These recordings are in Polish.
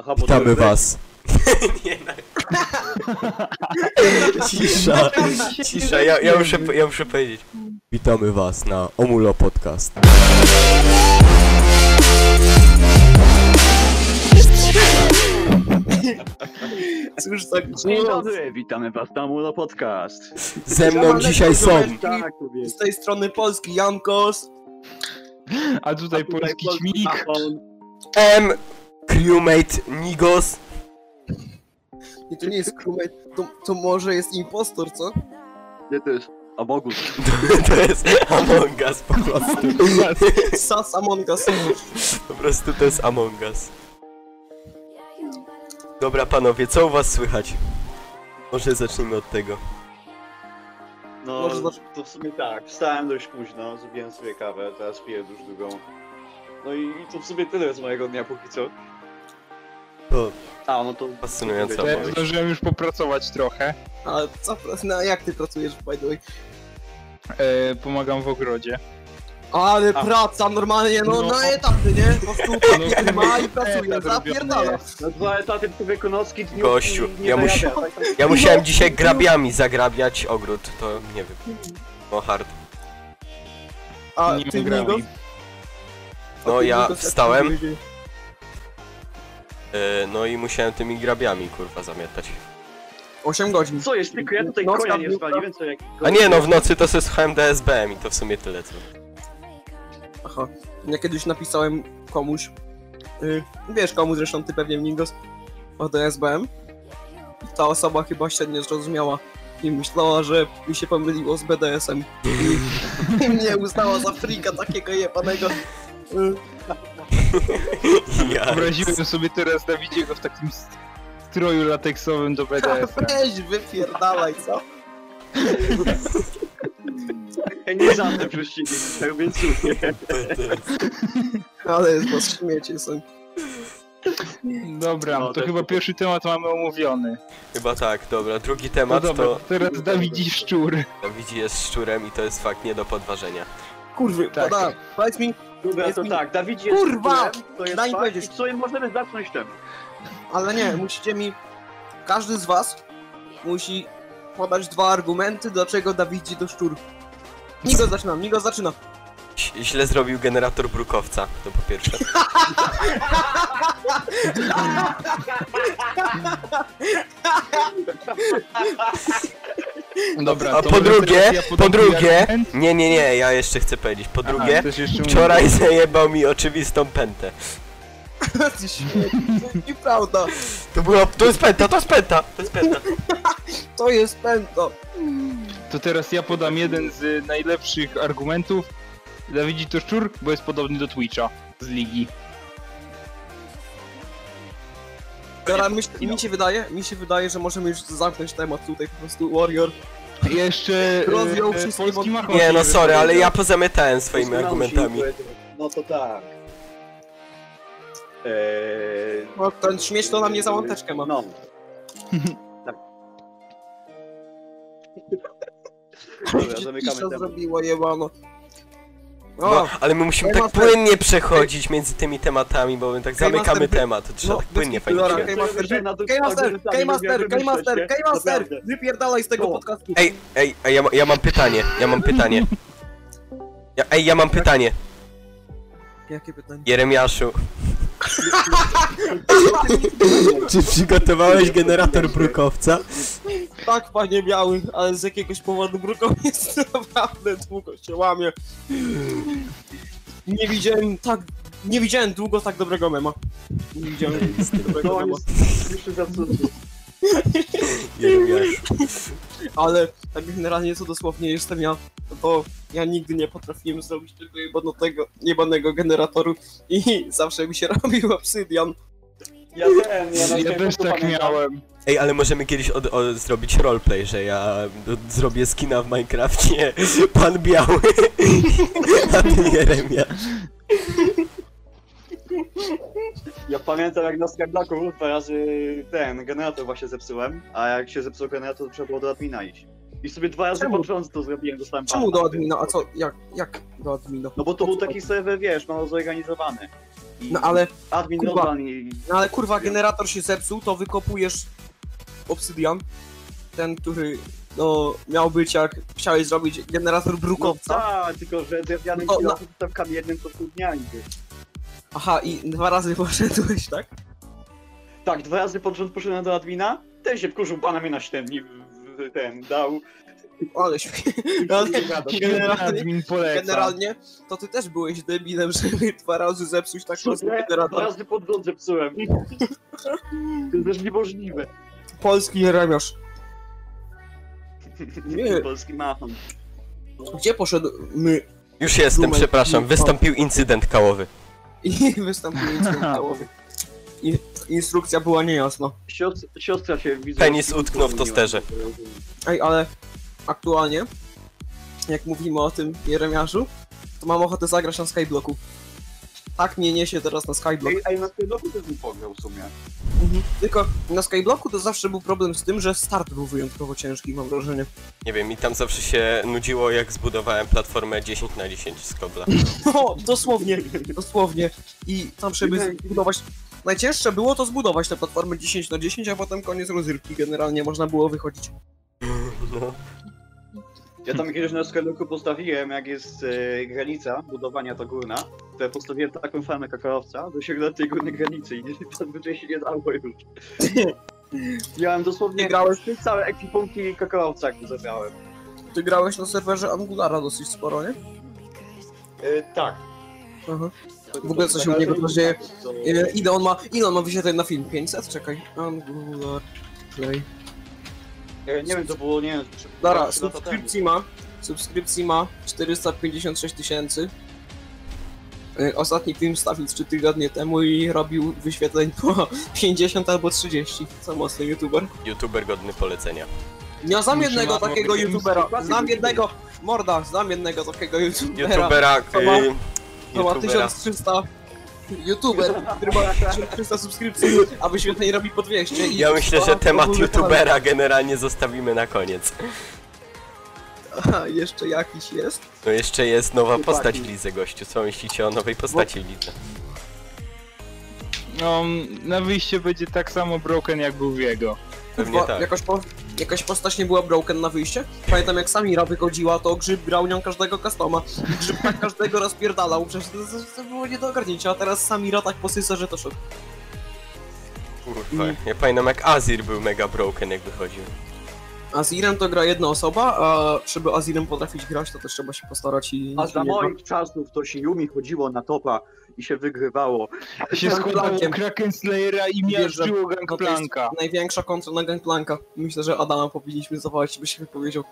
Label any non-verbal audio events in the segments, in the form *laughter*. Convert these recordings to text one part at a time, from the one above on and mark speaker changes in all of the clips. Speaker 1: Aha, bo
Speaker 2: Witamy
Speaker 1: to-
Speaker 2: was.
Speaker 3: *laughs* Nie, no.
Speaker 2: Cisza.
Speaker 3: Cisza, ja, ja, muszę, po- ja muszę powiedzieć.
Speaker 2: Witamy was na Omulo Podcast.
Speaker 4: Cóż za
Speaker 1: tak
Speaker 5: Dzień dobry, witamy was na Mulo Podcast.
Speaker 2: Ze mną dzisiaj są
Speaker 1: Tak,
Speaker 4: Z tej strony Polski Jankos.
Speaker 5: A tutaj polski śmig.
Speaker 4: Afon.
Speaker 2: M, crewmate Nigos, *laughs*
Speaker 4: Nie, to nie jest crewmate, to, to może jest impostor, co? *laughs*
Speaker 5: Gdzie to jest? A Bogu.
Speaker 2: to jest Among Us po prostu.
Speaker 4: Sas Among Us.
Speaker 2: Po prostu to jest Among Us. Dobra panowie, co u was słychać? Może zacznijmy od tego.
Speaker 1: No,
Speaker 4: Może zacz-
Speaker 1: to w sumie tak. Wstałem dość późno, zrobiłem sobie kawę, teraz piję już długą. No i i to w sumie tyle z mojego dnia póki co.
Speaker 2: To
Speaker 1: A, no to...
Speaker 2: fascynująca
Speaker 1: to-
Speaker 6: Ja
Speaker 2: opowieść.
Speaker 6: zdążyłem już popracować trochę.
Speaker 4: A co, no, jak ty pracujesz, by the way?
Speaker 6: E, pomagam w ogrodzie.
Speaker 4: Ale
Speaker 1: A.
Speaker 4: praca, normalnie, no,
Speaker 6: No.
Speaker 4: na etapy, nie? Po prostu *laughs* papier
Speaker 6: kurwa,
Speaker 4: ma i
Speaker 6: etap *laughs*
Speaker 4: pracuje,
Speaker 6: E, robiony
Speaker 4: zapierdala.
Speaker 1: Na dwa etaty człowieku nocki dniu
Speaker 2: Gościu,
Speaker 1: i nie
Speaker 2: ja
Speaker 1: zajada,
Speaker 2: muszę-
Speaker 1: tak, tak.
Speaker 2: Ja musiałem dzisiaj grabiami zagrabiać ogród, to nie wiem. No hard.
Speaker 4: A
Speaker 6: nie
Speaker 4: ty
Speaker 6: mam grami.
Speaker 4: Migos? A
Speaker 2: No
Speaker 4: ty,
Speaker 2: ja
Speaker 4: Migos, jak
Speaker 2: wstałem,
Speaker 4: ty wyjdziesz?
Speaker 2: e, no i musiałem tymi grabiami kurwa zamiatać.
Speaker 4: Osiem godzin.
Speaker 1: Co jest, tylko ja tutaj
Speaker 4: Nocka
Speaker 1: konia nie
Speaker 4: dniówka.
Speaker 1: spaliłem, co jak...
Speaker 2: A nie no, w nocy to sobie słuchałem DSBM i to w sumie tyle co. *laughs*
Speaker 4: Aha. Ja kiedyś napisałem komuś, y, wiesz komu zresztą, ty pewnie Mingos, o DSBM. Ta osoba chyba się nie zrozumiała i myślała, że mi się pomyliło z BDS-em. I, *laughs* i mnie uznała za frika takiego jebanego. Y,
Speaker 2: Ja,
Speaker 6: Wyobraziłem sobie teraz Dawidziego w takim st- stroju lateksowym
Speaker 4: *laughs*
Speaker 6: do BDS.
Speaker 4: Weź, wypierdalaj, co?
Speaker 1: Ja nie żadne prześcigi, tak więc słuchaj.
Speaker 4: Ale jest, bo śmiecie są.
Speaker 6: Dobra,
Speaker 1: No,
Speaker 6: to
Speaker 1: też
Speaker 6: chyba
Speaker 1: tak.
Speaker 6: pierwszy temat mamy omówiony.
Speaker 2: Chyba tak, dobra. Drugi
Speaker 6: No
Speaker 2: temat
Speaker 6: dobra,
Speaker 2: to
Speaker 6: teraz Dawidzi szczur.
Speaker 2: Dawidzi jest szczurem i to jest fakt nie do podważenia.
Speaker 4: Kurwy,
Speaker 6: Tak.
Speaker 4: poda, powiedz mi,
Speaker 1: Dobra,
Speaker 4: Jest
Speaker 1: to
Speaker 4: mi-
Speaker 1: tak, Dawid jest
Speaker 4: Kurwa!
Speaker 1: królem, to jest
Speaker 4: Daj mi
Speaker 1: fakt, i
Speaker 4: powiedzieć.
Speaker 1: co możemy zacząć tym?
Speaker 4: ale nie, musicie mi, każdy z was musi podać dwa argumenty, dlaczego Dawidzi to szczur. Nigo zaczyna, Nigo *laughs* zaczyna.
Speaker 2: Ś- Źle zrobił generator brukowca, to po pierwsze.
Speaker 6: Dobra,
Speaker 2: A
Speaker 6: to
Speaker 2: po
Speaker 6: może
Speaker 2: drugie,
Speaker 6: teraz ja podam
Speaker 2: po drugie,
Speaker 6: argument.
Speaker 2: nie, nie, nie, ja jeszcze chcę powiedzieć. Po
Speaker 6: Aha,
Speaker 2: drugie,
Speaker 6: też jeszcze mówię.
Speaker 2: wczoraj zajebał mi oczywistą pętę.
Speaker 4: Ty śmieci, to nieprawda.
Speaker 2: To była, to jest pęta, to jest pęta, to jest
Speaker 6: *laughs*
Speaker 2: pęta.
Speaker 4: To jest pęto.
Speaker 6: To teraz ja podam jeden z y, najlepszych argumentów. Dawidzi to szczur, bo jest podobny do Twitcha z ligi.
Speaker 4: Dobra, myśl, mi się wydaje, mi się wydaje, że możemy już zamknąć temat tutaj po prostu Warrior.
Speaker 6: Jeszcze
Speaker 4: Rozwiął
Speaker 6: e, e,
Speaker 4: wszystkie
Speaker 6: polski
Speaker 4: wątpliwości.
Speaker 6: machon.
Speaker 2: Nie no, sorry, ale ja pozamiatałem swoimi
Speaker 1: Poznałem
Speaker 2: argumentami.
Speaker 1: się, No to tak. Eee,
Speaker 4: No ten śmieć to na mnie za łąteczkę ma.
Speaker 1: No. tak. Dobra, zamykamy
Speaker 4: Co
Speaker 1: temat.
Speaker 4: zrobiło jebano. O,
Speaker 2: No, ale my musimy tak
Speaker 4: Master-
Speaker 2: płynnie przechodzić między tymi tematami, bo my tak
Speaker 4: Hej,
Speaker 2: zamykamy
Speaker 4: Master-
Speaker 2: temat. Trzeba
Speaker 4: no,
Speaker 2: tak płynnie,
Speaker 4: bez kitu,
Speaker 2: panie
Speaker 4: Dora,
Speaker 2: Cię.
Speaker 4: hej, Master, K-Master, K-Master, K-Master, K-Master, wypierdalaj z tego
Speaker 1: O.
Speaker 4: podcastu.
Speaker 2: Ej, ej, ej ja, ma, ja mam pytanie, ja mam pytanie. Ja, ej, ja mam pytanie.
Speaker 4: Jakie pytanie?
Speaker 2: Jeremiaszu. Czy przygotowałeś generator brukowca?
Speaker 4: Tak, panie biały, ale z jakiegoś powodu *laughs* brukowiec naprawdę długo się łamie. Nie widziałem tak, nie widziałem długo tak dobrego mema. Nie widziałem nic tak dobrego
Speaker 1: To
Speaker 4: mema.
Speaker 1: No, jest jeszcze za co.
Speaker 2: Jeremiaszu.
Speaker 4: Ale tak generalnie co dosłownie jestem ja, bo ja nigdy nie potrafiłem zrobić tylko jebanego, jebanego generatoru i zawsze mi się *laughs* robił obsydian.
Speaker 1: Ja wiem, ja, na
Speaker 6: Ja
Speaker 1: Facebooku
Speaker 6: też tak
Speaker 1: pamiętam.
Speaker 6: miałem.
Speaker 2: Ej, ale możemy kiedyś od, o, zrobić roleplay, że ja o, zrobię skina w Minecrafcie *laughs* Pan Biały, *laughs* a ty Jeremiasz.
Speaker 1: Ja pamiętam jak na Skyblaku parę razy ten generator właśnie zepsułem, a jak się zepsuł generator to trzeba było do admina iść. I sobie dwa razy
Speaker 4: Czemu?
Speaker 1: pod rząd to zrobiłem, dostałem
Speaker 4: Czemu
Speaker 1: bana.
Speaker 4: do admina? A co? Jak? Jak do admina?
Speaker 1: No bo
Speaker 4: Po
Speaker 1: to był
Speaker 4: co?
Speaker 1: taki serwer, wiesz, no zorganizowany. I
Speaker 4: No ale,
Speaker 1: Admin
Speaker 4: kurwa.
Speaker 1: Rodan i...
Speaker 4: no ale kurwa generator się zepsuł, to wykopujesz obsydian. Ten, który no, miał być jak chciałeś zrobić generator
Speaker 1: No
Speaker 4: brukowca.
Speaker 1: tak, tylko że drewnianym
Speaker 4: No,
Speaker 1: no,
Speaker 4: no.
Speaker 1: tam kamiennym to pół dnia idzie.
Speaker 4: Aha, i dwa razy *laughs* poszedłeś, tak?
Speaker 1: Tak, dwa razy pod rząd poszedłem do admina, ten się wkurzył, pana mnie na 7 dni w- w- ten dał. *laughs*
Speaker 4: Ale śmiech. No, *laughs* ale generalnie,
Speaker 6: Admin
Speaker 1: tak.
Speaker 6: poleca.
Speaker 4: generalnie to ty też byłeś debilem, *laughs* żeby dwa razy zepsuć tak
Speaker 1: Cudne,
Speaker 4: mocno
Speaker 1: Dwa
Speaker 4: generator.
Speaker 1: razy pod rząd
Speaker 4: *laughs*
Speaker 1: zepsułem. To jest też niemożliwe.
Speaker 4: Polski remiarz.
Speaker 1: *laughs*
Speaker 4: Nie.
Speaker 1: Polski mafon.
Speaker 4: Gdzie poszedłmy
Speaker 2: Już jestem,
Speaker 4: Dumaj.
Speaker 2: przepraszam, wystąpił incydent kałowy.
Speaker 4: *laughs* i wystąpił instrukcja
Speaker 1: *laughs*
Speaker 4: I, Instrukcja była niejasna.
Speaker 1: Siostra, siostra się widzę.
Speaker 2: Penis utknął w tosterze.
Speaker 4: Ej, ale aktualnie, jak mówimy o tym Jeremiaszu, to mam ochotę zagrać na Skyblocku. Tak mnie niesie teraz na Skyblock.
Speaker 1: Ej, ej, na tym roku też bym pograł w sumie.
Speaker 4: Tylko na Skyblocku to zawsze był problem z tym, że start był wyjątkowo ciężki, mam wrażenie. *laughs*
Speaker 2: Nie wiem, mi tam zawsze się nudziło, jak zbudowałem platformę 10 na 10 z kobla.
Speaker 4: No, dosłownie, dosłownie. I tam żeby zbudować... Najcięższe było to zbudować tę platformę 10 na 10, a potem koniec rozrywki. Generalnie można było wychodzić.
Speaker 2: No.
Speaker 1: Ja tam kiedyś na skaloku postawiłem, jak jest e, granica budowania ta górna, to ja postawiłem taką farmę kakaowca, do środka tej górnej granicy i *laughs* tam wyżej się nie dało już. Miałem dosłownie
Speaker 4: Ty grałeś?
Speaker 1: trzy całe ekwipunki kakaowca, jak zebrałem.
Speaker 4: Ty grałeś na serwerze Angulara dosyć sporo, nie?
Speaker 1: E, tak.
Speaker 4: Aha. W ogóle coś u niego też dzieje. Ile, ile E, on ma, ile on ma wyświetleń na film? 500? Czekaj. Angular Play.
Speaker 1: E, nie wiem, to było, nie wiem, czy...
Speaker 4: Dobra,
Speaker 1: trzy lata temu.
Speaker 4: subskrypcji ma, subskrypcji ma 456 tysięcy. Y, Ostatni film stawił 3 tygodnie temu i robił wyświetleń po *laughs* 50 albo 30. Co mocny youtuber.
Speaker 2: YouTuber godny polecenia.
Speaker 4: Ja znam
Speaker 6: Muszę
Speaker 4: jednego
Speaker 6: na-
Speaker 4: takiego
Speaker 6: mogę-
Speaker 4: youtubera, znam jednego, morda, znam jednego takiego youtubera.
Speaker 2: YouTubera...
Speaker 4: To ma-
Speaker 2: y,
Speaker 4: To ma
Speaker 2: YouTubera.
Speaker 4: 1300 YouTuber, który ma 1300 subskrypcji, a wyświetleń robi po 200. i-
Speaker 2: Ja myślę, że
Speaker 4: Aha, w
Speaker 2: temat
Speaker 4: ogóle
Speaker 2: YouTubera generalnie zostawimy na koniec.
Speaker 4: Aha, jeszcze jakiś jest.
Speaker 2: No jeszcze jest nowa
Speaker 1: Chłopaki.
Speaker 2: postać w lidze, gościu. Co myślicie o nowej postaci w lidze?
Speaker 6: No, na wyjście będzie tak samo broken jak był w jego.
Speaker 2: Pewnie
Speaker 4: Bo
Speaker 2: tak.
Speaker 4: jakaś, po, jakaś postać nie była broken na wyjście? Pamiętam jak Samira wychodziła, to Grzyb grał nią każdego customa. I Grzyb tak każdego rozpierdalał, przecież to, to, to było nie do ogarnięcia, a teraz Samira tak posysa, że to szok.
Speaker 2: Kurwa. Ja pamiętam jak Azir był mega broken jak wychodził.
Speaker 4: Azirem to gra jedna osoba, a żeby Azirem potrafić grać, to też trzeba się postarać i...
Speaker 1: A za
Speaker 4: i nie ma.
Speaker 1: moich czasów to się Yumi chodziło na topa i się wygrywało.
Speaker 6: Się składało
Speaker 4: Gangplankiem.
Speaker 6: Kraken Slayera i
Speaker 4: Wiesz,
Speaker 6: miażdżyło
Speaker 4: No to jest
Speaker 6: Gangplanka.
Speaker 4: największa kontra na Gangplanka. Myślę, że Adama powinniśmy zawołać, by się wypowiedział.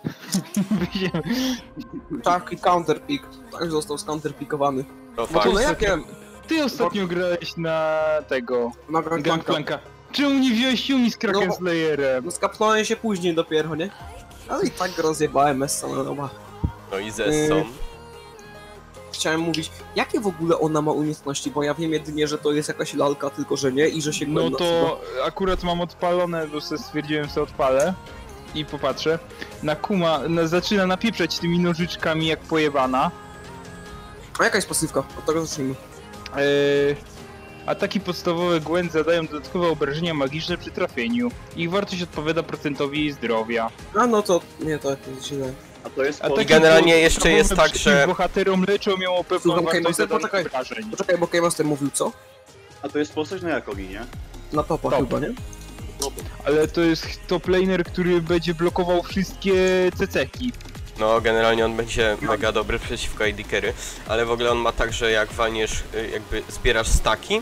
Speaker 6: *laughs*
Speaker 4: Tak, i counterpick. Tak został scounterpickowany.
Speaker 2: To
Speaker 4: No
Speaker 2: fakt.
Speaker 4: to na jakie?
Speaker 6: Ty ostatnio grałeś na tego,
Speaker 4: Na Gangplanka.
Speaker 6: Gangplanka. Czemu nie wziąłeś Yumi z Kraken
Speaker 4: No.
Speaker 6: Slayerem?
Speaker 4: No skapnąłem się później dopiero, nie? Ale i tak go rozjebałem Essa na nowa.
Speaker 2: No i ze
Speaker 4: Y-
Speaker 2: są.
Speaker 4: Chciałem mówić, jakie w ogóle ona ma umiejętności, bo ja wiem jedynie, że to jest jakaś lalka, tylko że nie i że się
Speaker 6: No
Speaker 4: głębia wsuwa.
Speaker 6: to akurat mam odpalone, bo se stwierdziłem, że odpalę. I popatrzę. Nakuma na, zaczyna napieprzać tymi nożyczkami jak pojebana.
Speaker 4: A jaka jest pasywka? Od tego zacznijmy.
Speaker 6: Eee, ataki podstawowe Gwen zadają dodatkowe obrażenia magiczne przy trafieniu. Ich wartość odpowiada procentowi jej zdrowia.
Speaker 4: A no to, nie, to jest źle.
Speaker 1: A to jest...
Speaker 6: Ataki
Speaker 1: Polska.
Speaker 2: generalnie
Speaker 6: podstawowe
Speaker 2: jeszcze jest tak,
Speaker 6: przeciw
Speaker 2: że-
Speaker 6: bohaterom leczą ją o pewną
Speaker 4: Słucham,
Speaker 6: wartość
Speaker 4: Kejmaster,
Speaker 6: zadanych
Speaker 4: poczekaj.
Speaker 6: obrażeń.
Speaker 4: Poczekaj, bo Keymaster mówił co?
Speaker 1: A to jest postać na Jakobi, nie?
Speaker 4: Na topa
Speaker 6: Top.
Speaker 4: chyba, nie?
Speaker 6: Ale to jest top laner, który będzie blokował wszystkie ceceki.
Speaker 2: No, generalnie on będzie mega dobry przeciwko AD Carry, ale w ogóle on ma tak, że jak walniesz, y, jakby zbierasz staki,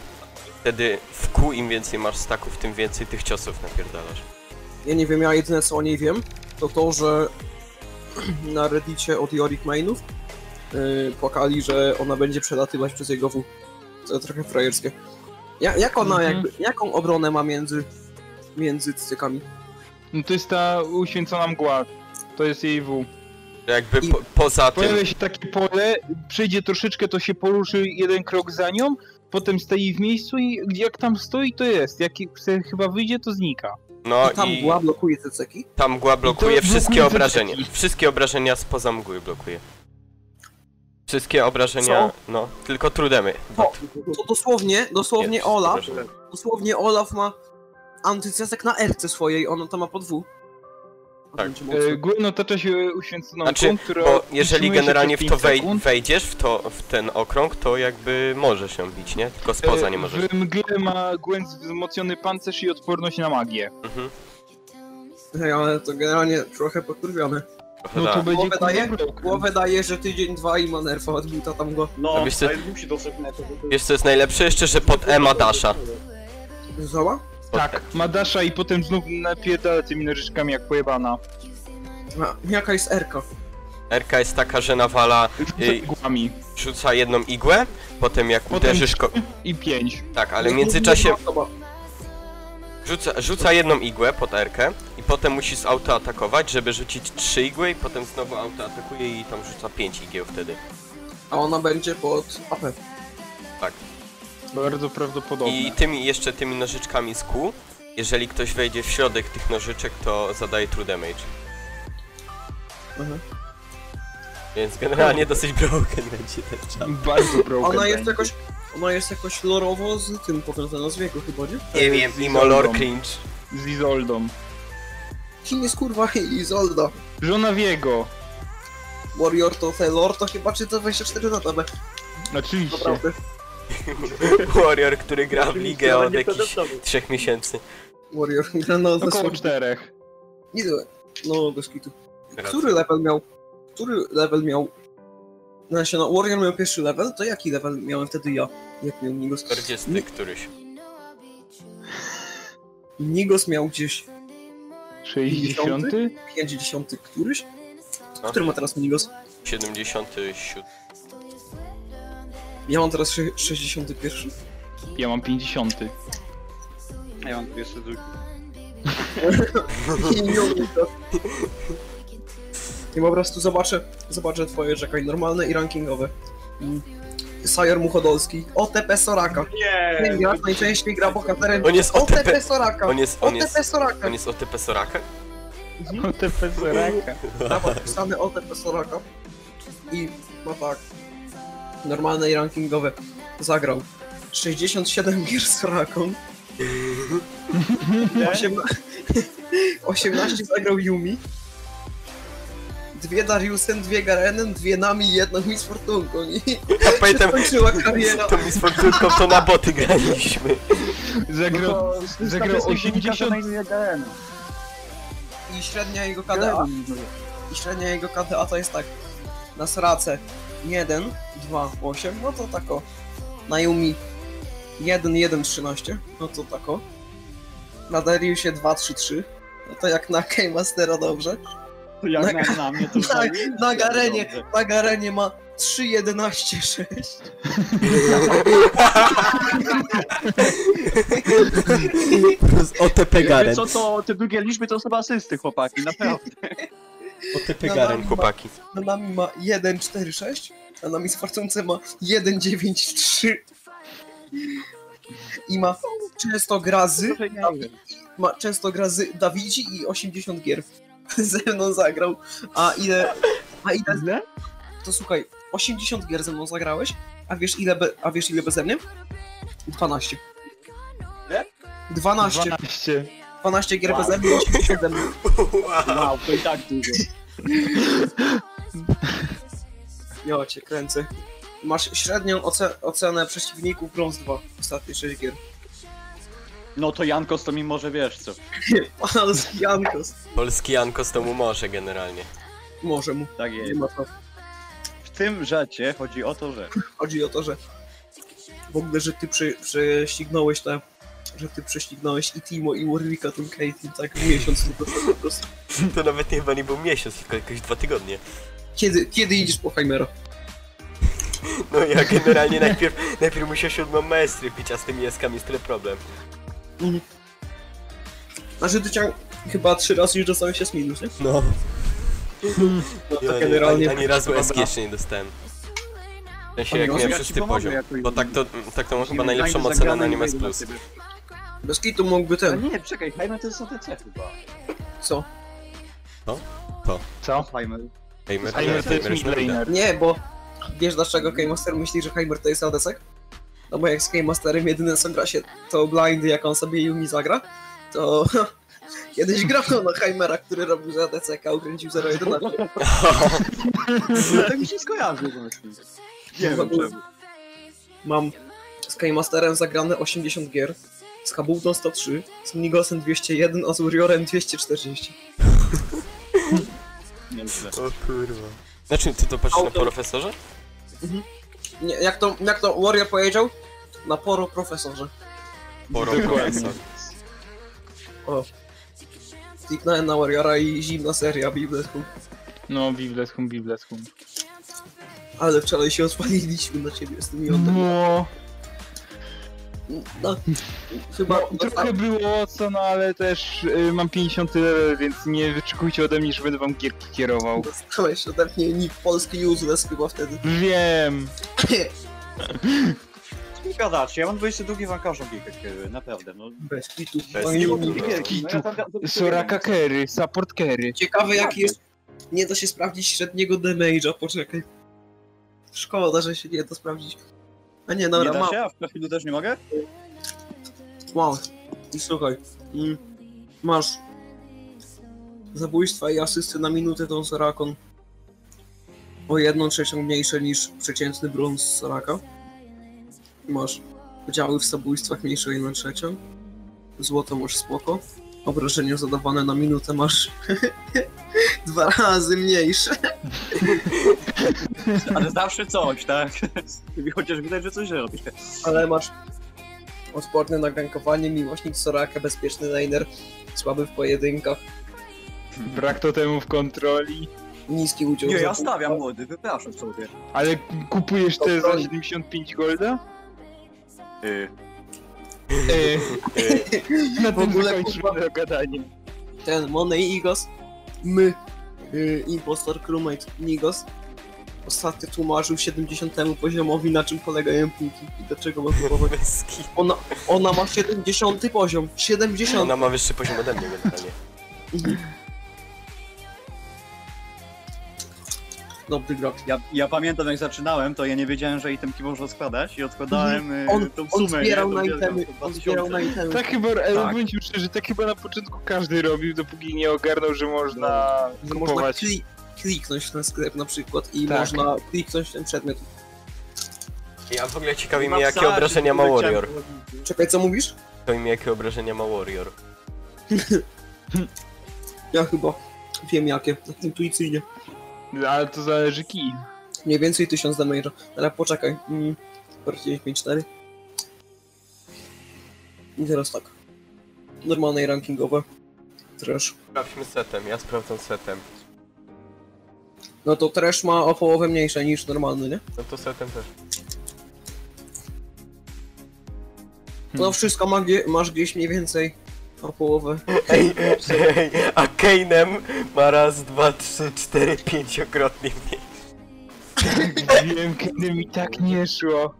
Speaker 2: wtedy w kół im więcej masz staków, tym więcej tych ciosów napierdalasz.
Speaker 4: Ja nie wiem, ja jedyne co o niej wiem, to to, że *clears throat* na reddicie od Yorick Mainów yy, płakali, że ona będzie przelatywać przez jego W. To trochę frajerskie. Ja, jak ona,
Speaker 6: Mhm.
Speaker 4: jakby, jaką obronę ma między, między cykami?
Speaker 6: No to jest ta uświęcona mgła. To jest jej W.
Speaker 2: Że Jakby
Speaker 4: I-
Speaker 2: po, poza tym,
Speaker 6: Pojawia się takie pole, przyjdzie troszeczkę, to się poruszy jeden krok za nią, potem stoi w miejscu i jak tam stoi, to jest. Jak se chyba wyjdzie, to znika.
Speaker 2: No
Speaker 4: I tam
Speaker 2: i
Speaker 4: mgła blokuje te ceki?
Speaker 2: ta mgła blokuje
Speaker 6: blokuje
Speaker 2: wszystkie
Speaker 6: te
Speaker 2: obrażenia.
Speaker 6: ceki.
Speaker 2: Wszystkie obrażenia spoza mgły blokuje. Wszystkie obrażenia, no, tylko trudemy.
Speaker 4: To dosłownie, dosłownie Olaf, dosłownie Olaf ma antycesek na erce swojej, ona to ma po dwu. A
Speaker 2: Tak.
Speaker 4: będzie mocno.
Speaker 6: E, Górno otacza się uświęconą
Speaker 2: Znaczy,
Speaker 6: mgłą, która
Speaker 2: Bo jeżeli
Speaker 6: utrzymuje się
Speaker 2: generalnie w
Speaker 6: przez
Speaker 2: to
Speaker 6: pięć
Speaker 2: wej-
Speaker 6: sekund.
Speaker 2: wejdziesz, w, to, w ten okrąg, to jakby możesz ją bić, nie? Tylko spoza
Speaker 6: E,
Speaker 2: nie możesz.
Speaker 6: W mgle ma Gwen wzmocniony pancerz i odporność na magię.
Speaker 2: Mhm.
Speaker 4: Hej, ale to generalnie trochę pokurwione.
Speaker 2: Trochę
Speaker 6: No to
Speaker 2: tak.
Speaker 6: będzie
Speaker 4: Głowę daje?
Speaker 6: dobry okręt.
Speaker 4: Głowę daje, że tydzień, dwa i ma nerfa od buta tam go
Speaker 1: No,
Speaker 2: A wiesz co-
Speaker 1: ale musi dostać na to, bo to
Speaker 2: Wiesz co jest najlepsze? Jeszcze, że pod Ema Dasha.
Speaker 4: zała.
Speaker 6: Tak, ma dasza i potem znów napierdala tymi nożyczkami jak pojebana.
Speaker 4: A, Jaka jest erka?
Speaker 2: RK jest taka, że nawala,
Speaker 6: Z
Speaker 2: y,
Speaker 6: igłami.
Speaker 2: rzuca jedną igłę, potem jak
Speaker 6: Potem-
Speaker 2: uderzysz ko-
Speaker 6: I pięć.
Speaker 2: Tak, ale w międzyczasie
Speaker 4: Osoba.
Speaker 2: rzuca, rzuca jedną igłę pod Erkę i potem musi z auto atakować, żeby rzucić trzy igły i potem znowu auto atakuje i tam rzuca pięć igieł wtedy.
Speaker 4: A ona będzie pod AP.
Speaker 6: Bardzo prawdopodobne.
Speaker 2: I tymi jeszcze tymi nożyczkami z kół, jeżeli ktoś wejdzie w środek tych nożyczek, to zadaje true damage.
Speaker 4: Mhm.
Speaker 2: Więc generalnie dosyć broken będzie ten czas.
Speaker 6: Bardzo broken
Speaker 4: Ona jest
Speaker 6: będzie.
Speaker 4: jakoś... Ona jest jakoś lorowo z tym powiązana z wieku chyba, nie?
Speaker 2: Nie wiem, mimo lore cringe.
Speaker 6: Z Izoldą.
Speaker 4: Kim jest kurwa *laughs* Izolda?
Speaker 6: Żona Wiego.
Speaker 4: Warrior to te lore to chyba czyta 24 na tabę,
Speaker 6: Oczywiście.
Speaker 4: naprawdę.
Speaker 2: Warrior, który
Speaker 1: *laughs*
Speaker 2: gra w ligę od
Speaker 1: nie
Speaker 2: jakichś
Speaker 1: przedostał.
Speaker 2: trzech miesięcy.
Speaker 4: *laughs* Warrior gra na
Speaker 6: Około czterech.
Speaker 4: Niezłe. No, bez kitu. Który level miał? Który level miał? Znaczy, no, Warrior miał pierwszy level, to jaki level miałem wtedy ja? Jak miał Nigos?
Speaker 2: 40 któryś.
Speaker 4: Nigos miał gdzieś
Speaker 6: 60?
Speaker 4: 50 któryś?
Speaker 2: No.
Speaker 4: Który ma teraz Nigos?
Speaker 2: 77.
Speaker 4: Ja mam teraz sze- 61.
Speaker 6: Ja mam 50.
Speaker 1: Ja mam jeszcze drugi.
Speaker 4: I nie umiem to. I po prostu zobaczę, zobaczę twoje rzekaj normalne i rankingowe. Mm. Sajor Muchodolski, OTP Soraka.
Speaker 1: Nie!
Speaker 4: Ten gracz najczęściej gra bohaterem
Speaker 2: On jest OTP.
Speaker 4: OTP Soraka.
Speaker 2: On jest, on jest,
Speaker 4: OTP Soraka.
Speaker 2: on jest OTP Soraka?
Speaker 6: No te pezeraka.
Speaker 4: Prawo pisane od profesoraka i ma tak normalne i rankingowe zagrał 67 gier z Soraką *laughs* 18, 18 zagrał Yumi dwie Dariusem, dwie Garenem, dwie nami jedną Miss Fortunką i
Speaker 2: Ja
Speaker 4: *laughs*
Speaker 2: pamiętam,
Speaker 4: kończyła kariera
Speaker 2: to mi z fortunką to na boty graliśmy.
Speaker 6: Zagrał zagrał 80
Speaker 4: i średnia jego
Speaker 2: tak.
Speaker 4: KDA i średnia jego KDA to jest tak na Srace 1, 2, 8, no to tako na Yumi 1, 1, 13, no to tako na Dariusie 2, 3, 3 no to jak na Keymastera dobrze
Speaker 5: To jak
Speaker 2: Tak.
Speaker 5: na, na mnie to
Speaker 4: na, na Garenie,
Speaker 5: dobrze.
Speaker 4: na Garenie ma 3, 11, 6
Speaker 2: Z OTP
Speaker 5: Wiecie co, to te drugie liczby to są asysty, chłopaki, naprawdę.
Speaker 2: OTP
Speaker 4: Garen,
Speaker 2: chłopaki.
Speaker 4: na Nami ma 1, 4, 6 a Nami z Fortunce ma 1, 9, 3 i ma często grazy ma często gra z Dawidzi i 80 gier *laughs* ze mną zagrał. A ile. A ile.
Speaker 5: Ile?
Speaker 4: To słuchaj, 80 gier ze mną zagrałeś, a wiesz ile, be, a wiesz ile beze mnie? 12.
Speaker 1: Ile?
Speaker 4: 12.
Speaker 6: 12.
Speaker 4: 12 gier beze mnie, 80 ze mną.
Speaker 5: Wow, to i tak dużo.
Speaker 4: Jo, cię kręcę. Masz średnią oce ocenę przeciwników Brąz 2, ostatnie 6 gier. *laughs*
Speaker 5: No to Jankos to mi może wiesz co.
Speaker 4: Polski Jankos.
Speaker 2: *laughs* Polski Janko z tomu może generalnie. *laughs*
Speaker 4: Może mu,
Speaker 5: Tak
Speaker 4: nie
Speaker 5: jest.
Speaker 4: ma co.
Speaker 5: W tym rzecie chodzi o to, że
Speaker 4: Chodzi o to, że w ogóle, że ty przy, prześcignąłeś te, że ty prześcignąłeś i Timo i Warwicka tym Caitlyn tak w miesiąc tylko po prostu.
Speaker 2: To nawet nie chyba nie był miesiąc, tylko jakieś dwa tygodnie.
Speaker 4: Kiedy, kiedy idziesz po Heimera?
Speaker 2: No ja generalnie najpierw, najpierw musiał siódmą maestry pić, a z tymi jaskami jest tyle problem.
Speaker 4: Znaczy ty ciąg... chyba trzy razy już dostałeś się z minus, nie?
Speaker 2: No,
Speaker 4: No
Speaker 2: ja
Speaker 4: to
Speaker 2: nie, ani,
Speaker 4: generalnie...
Speaker 2: ani razu SG jeszcze nie dostałem. W sensie jak
Speaker 4: Oni
Speaker 2: miałem
Speaker 5: ja ci
Speaker 2: szósty
Speaker 5: pomogę
Speaker 2: poziom.
Speaker 5: jakoś.
Speaker 2: Bo tak to, tak to mam chyba
Speaker 5: Znajdę
Speaker 2: najlepszą
Speaker 5: zagraną
Speaker 2: ocenę na
Speaker 5: i
Speaker 2: Animes
Speaker 5: wejdę na
Speaker 2: Plus.
Speaker 5: ciebie.
Speaker 4: Bez kitu mógłby
Speaker 5: A
Speaker 4: ten.
Speaker 5: nie, czekaj, Heimer to jest OTC chyba.
Speaker 4: Co?
Speaker 6: Co?
Speaker 5: Heimer.
Speaker 2: Heimer,
Speaker 6: Heimer to jest
Speaker 2: Heimer jest Norwida.
Speaker 6: midlaner.
Speaker 4: Nie, bo wiesz dlaczego Keymaster myśli, że Heimer to jest Adesek? No bo jak z Keymasterem jedyne co gra się to blindy, jak on sobie Yumi zagra, to *laughs* kiedyś grał na Heimera, który robił za ADCK, ukręcił 0-11.
Speaker 5: No to mi się skojarzy właśnie. Nie
Speaker 6: No,
Speaker 5: wiem czemu.
Speaker 4: Mam z Keymasterem zagrane 80 gier, z Habulton 103, z Minigosem 201, a z Uriorem 240.
Speaker 5: Nieźle.
Speaker 3: O kurwa.
Speaker 2: Znaczy, ty to patrzysz na
Speaker 4: Auto.
Speaker 2: profesorze?
Speaker 4: Nie, jak to, jak to Warrior powiedział? Na poro profesorze.
Speaker 2: Poro
Speaker 6: Dokładnie.
Speaker 2: *laughs* profesor.
Speaker 4: Kliknąłem na Warriora i zimna seria Bibletku.
Speaker 6: No, bibleskum, bibleskum.
Speaker 4: Ale wczoraj się odpaliliśmy na ciebie z tymi oddechami.
Speaker 6: No,
Speaker 4: No, chyba...
Speaker 6: no, trochę było co, no ale też y, mam 50 level, więc nie wyczekujcie ode mnie, że będę wam gierki kierował.
Speaker 4: Dostałeś ode mnie nick polski useless chyba wtedy. *laughs*
Speaker 6: Wiem.
Speaker 5: Nie gadasz, ja mam 22 wankarza giga, naprawdę, no.
Speaker 4: Bez kitu.
Speaker 2: Bez
Speaker 4: Pani-
Speaker 2: kitu.
Speaker 6: Kitu. Soraka carry, support carry.
Speaker 4: Ciekawe jaki jest... Nie da się sprawdzić średniego damage'a, poczekaj. Szkoda, że się nie da sprawdzić. A nie,
Speaker 5: Nie
Speaker 4: dobra,
Speaker 5: da
Speaker 4: mam.
Speaker 5: się, a w profilu też nie mogę?
Speaker 4: Wow. I słuchaj, mm, masz zabójstwa i asysty na minutę tą Sorakon o jedną trzecią mniejsze niż przeciętny brąz Soraka. Masz udziały w zabójstwach mniejsze o jedną trzecią. Złoto masz spoko. Obrażenia zadawane na minutę masz *laughs* dwa razy mniejsze.
Speaker 5: Ale zawsze coś, tak? *laughs* Chociaż widać, że coś robię.
Speaker 4: Ale masz odporny na gankowanie, miłośnik Soraka, bezpieczny laner, słaby w pojedynkach,
Speaker 6: Brak totemów kontroli.
Speaker 4: niski udział
Speaker 5: Nie,
Speaker 4: w
Speaker 5: ja
Speaker 4: zabójstwach.
Speaker 5: stawiam młody, wypraszam sobie.
Speaker 6: Ale kupujesz te za 75 golda?
Speaker 5: Yy.
Speaker 6: Ej, na
Speaker 4: W
Speaker 6: tym
Speaker 4: ogóle,
Speaker 6: zakończymy to gadanie.
Speaker 4: ten Money Igos, my, y, impostor crewmate Nigos, ostatnio tłumaczył 70 poziomowi na czym polegają pliki i do czego można powiedzieć.
Speaker 2: Bez kitu.
Speaker 4: Ona, ona ma 70 poziom, 70!
Speaker 2: No,
Speaker 6: no.
Speaker 2: Ona ma wyższy poziom ode mnie generalnie.
Speaker 4: Dobry gracz.
Speaker 5: Ja, ja pamiętam jak zaczynałem, to ja nie wiedziałem, że itemki można składać i odkładałem yy,
Speaker 4: Mhm. On,
Speaker 5: tą sumę.
Speaker 4: on
Speaker 5: nie?
Speaker 4: zbierał
Speaker 5: Tą
Speaker 4: na
Speaker 5: wielką,
Speaker 4: itemy,
Speaker 5: tą dwa
Speaker 4: on zbierał na
Speaker 5: tysiące.
Speaker 4: itemy.
Speaker 6: Tak chyba,
Speaker 5: Tak.
Speaker 6: tak. bądźmy szczerzy, tak chyba na początku każdy robił, dopóki nie ogarnął, że można
Speaker 4: Że No, Można
Speaker 6: kupować.
Speaker 4: kli, kliknąć w ten sklep na przykład i
Speaker 6: Tak.
Speaker 4: można kliknąć w ten przedmiot.
Speaker 2: Ja w ogóle ciekawi mnie,
Speaker 5: Mam
Speaker 2: jakie
Speaker 5: psa,
Speaker 2: obrażenia ma
Speaker 5: który chciałem
Speaker 2: Warrior.
Speaker 5: prowadzić.
Speaker 4: Czekaj, co mówisz?
Speaker 2: To mi jakie obrażenia ma Warrior.
Speaker 4: Ja chyba wiem jakie, tak intuicyjnie.
Speaker 6: Ale to zależy kij.
Speaker 4: Mniej więcej 1000 damage'a. Ale poczekaj. Mm, 4 I teraz tak. Normalne i rankingowe. Trash.
Speaker 2: Sprawdźmy setem, ja sprawdzam setem.
Speaker 4: No to trash ma o połowę mniejsze niż normalny, nie?
Speaker 2: No to setem też.
Speaker 4: No wszystko ma gdzie, masz gdzieś mniej więcej o połowę.
Speaker 2: Ej, ej, *laughs* a Kane'em ma raz, dwa, trzy, cztery, pięciokrotnie mniej.
Speaker 6: Wiem, kiedy mi tak nie szło.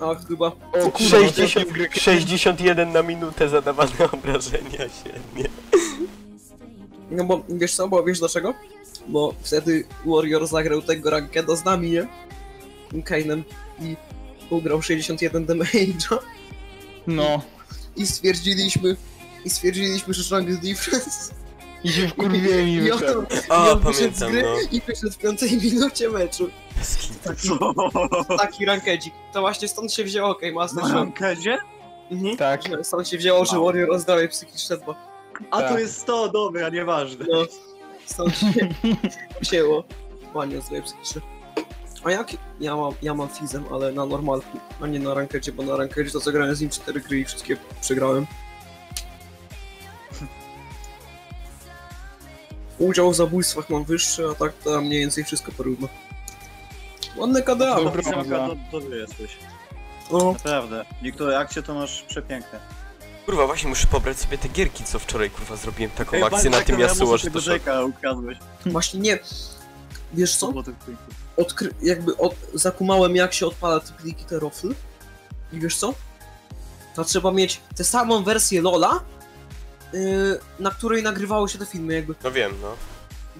Speaker 4: A chyba
Speaker 6: O kurwa,
Speaker 2: 60,
Speaker 6: ostatnio w grę-
Speaker 2: 61 na minutę zadawane *laughs* obrażenia średnie.
Speaker 4: No bo wiesz co, bo wiesz dlaczego? Bo wtedy Warrior zagrał tego rankeda z nami, nie? Kanem i ugrał 61 damage'a
Speaker 6: No.
Speaker 4: i stwierdziliśmy i stwierdziliśmy, że rank difference.
Speaker 6: I się wkurwiłem
Speaker 4: *laughs*
Speaker 6: i
Speaker 4: I on,
Speaker 6: wyszedłem.
Speaker 2: A,
Speaker 4: i on wyszedł z
Speaker 2: pamiętam,
Speaker 4: gry
Speaker 2: no.
Speaker 4: i wyszedł w piątej *laughs* minucie meczu.
Speaker 5: Co? *laughs*
Speaker 4: Taki rankedzik. To właśnie stąd się wzięło, okej, Master
Speaker 5: Na
Speaker 4: Show.
Speaker 5: rankedzie?
Speaker 4: Mhm.
Speaker 6: Tak.
Speaker 4: Stąd się wzięło, że Warrior o zdrowie psychiczne dba.
Speaker 5: A to
Speaker 6: Tak.
Speaker 5: jest 100, dobra, nieważne.
Speaker 4: No, stąd się wzięło. Panie, złe psychiczne. A jak ja mam, ja mam fizem, ale na normalku, a nie na rankecie, bo na rankecie to zagrałem z nim 4 gry i wszystkie przegrałem. Udział w zabójstwach mam wyższy, a tak to mniej więcej wszystko porówno. Ładne KDA,
Speaker 5: To
Speaker 6: Dobra.
Speaker 5: Dobra, to, to ty jesteś.
Speaker 4: no.
Speaker 5: Naprawdę. Niektóre akcje to masz przepiękne.
Speaker 2: Kurwa, właśnie muszę pobrać sobie te gierki, co wczoraj, kurwa, zrobiłem taką
Speaker 5: Ej,
Speaker 2: akcję na
Speaker 5: Bartek,
Speaker 2: tym
Speaker 5: ja muszę
Speaker 2: Yasuo, że
Speaker 5: tego
Speaker 2: to szok.
Speaker 5: Jake'a ukradłeś.
Speaker 4: Właśnie nie. Wiesz co?
Speaker 5: Było tych pięknych.
Speaker 4: odkry- jakby od- zakumałem jak się odpala te pliki, te rofl. I wiesz co? to trzeba mieć tę samą wersję LoL'a, yy, na której nagrywało się te filmy, jakby.
Speaker 2: No wiem, no.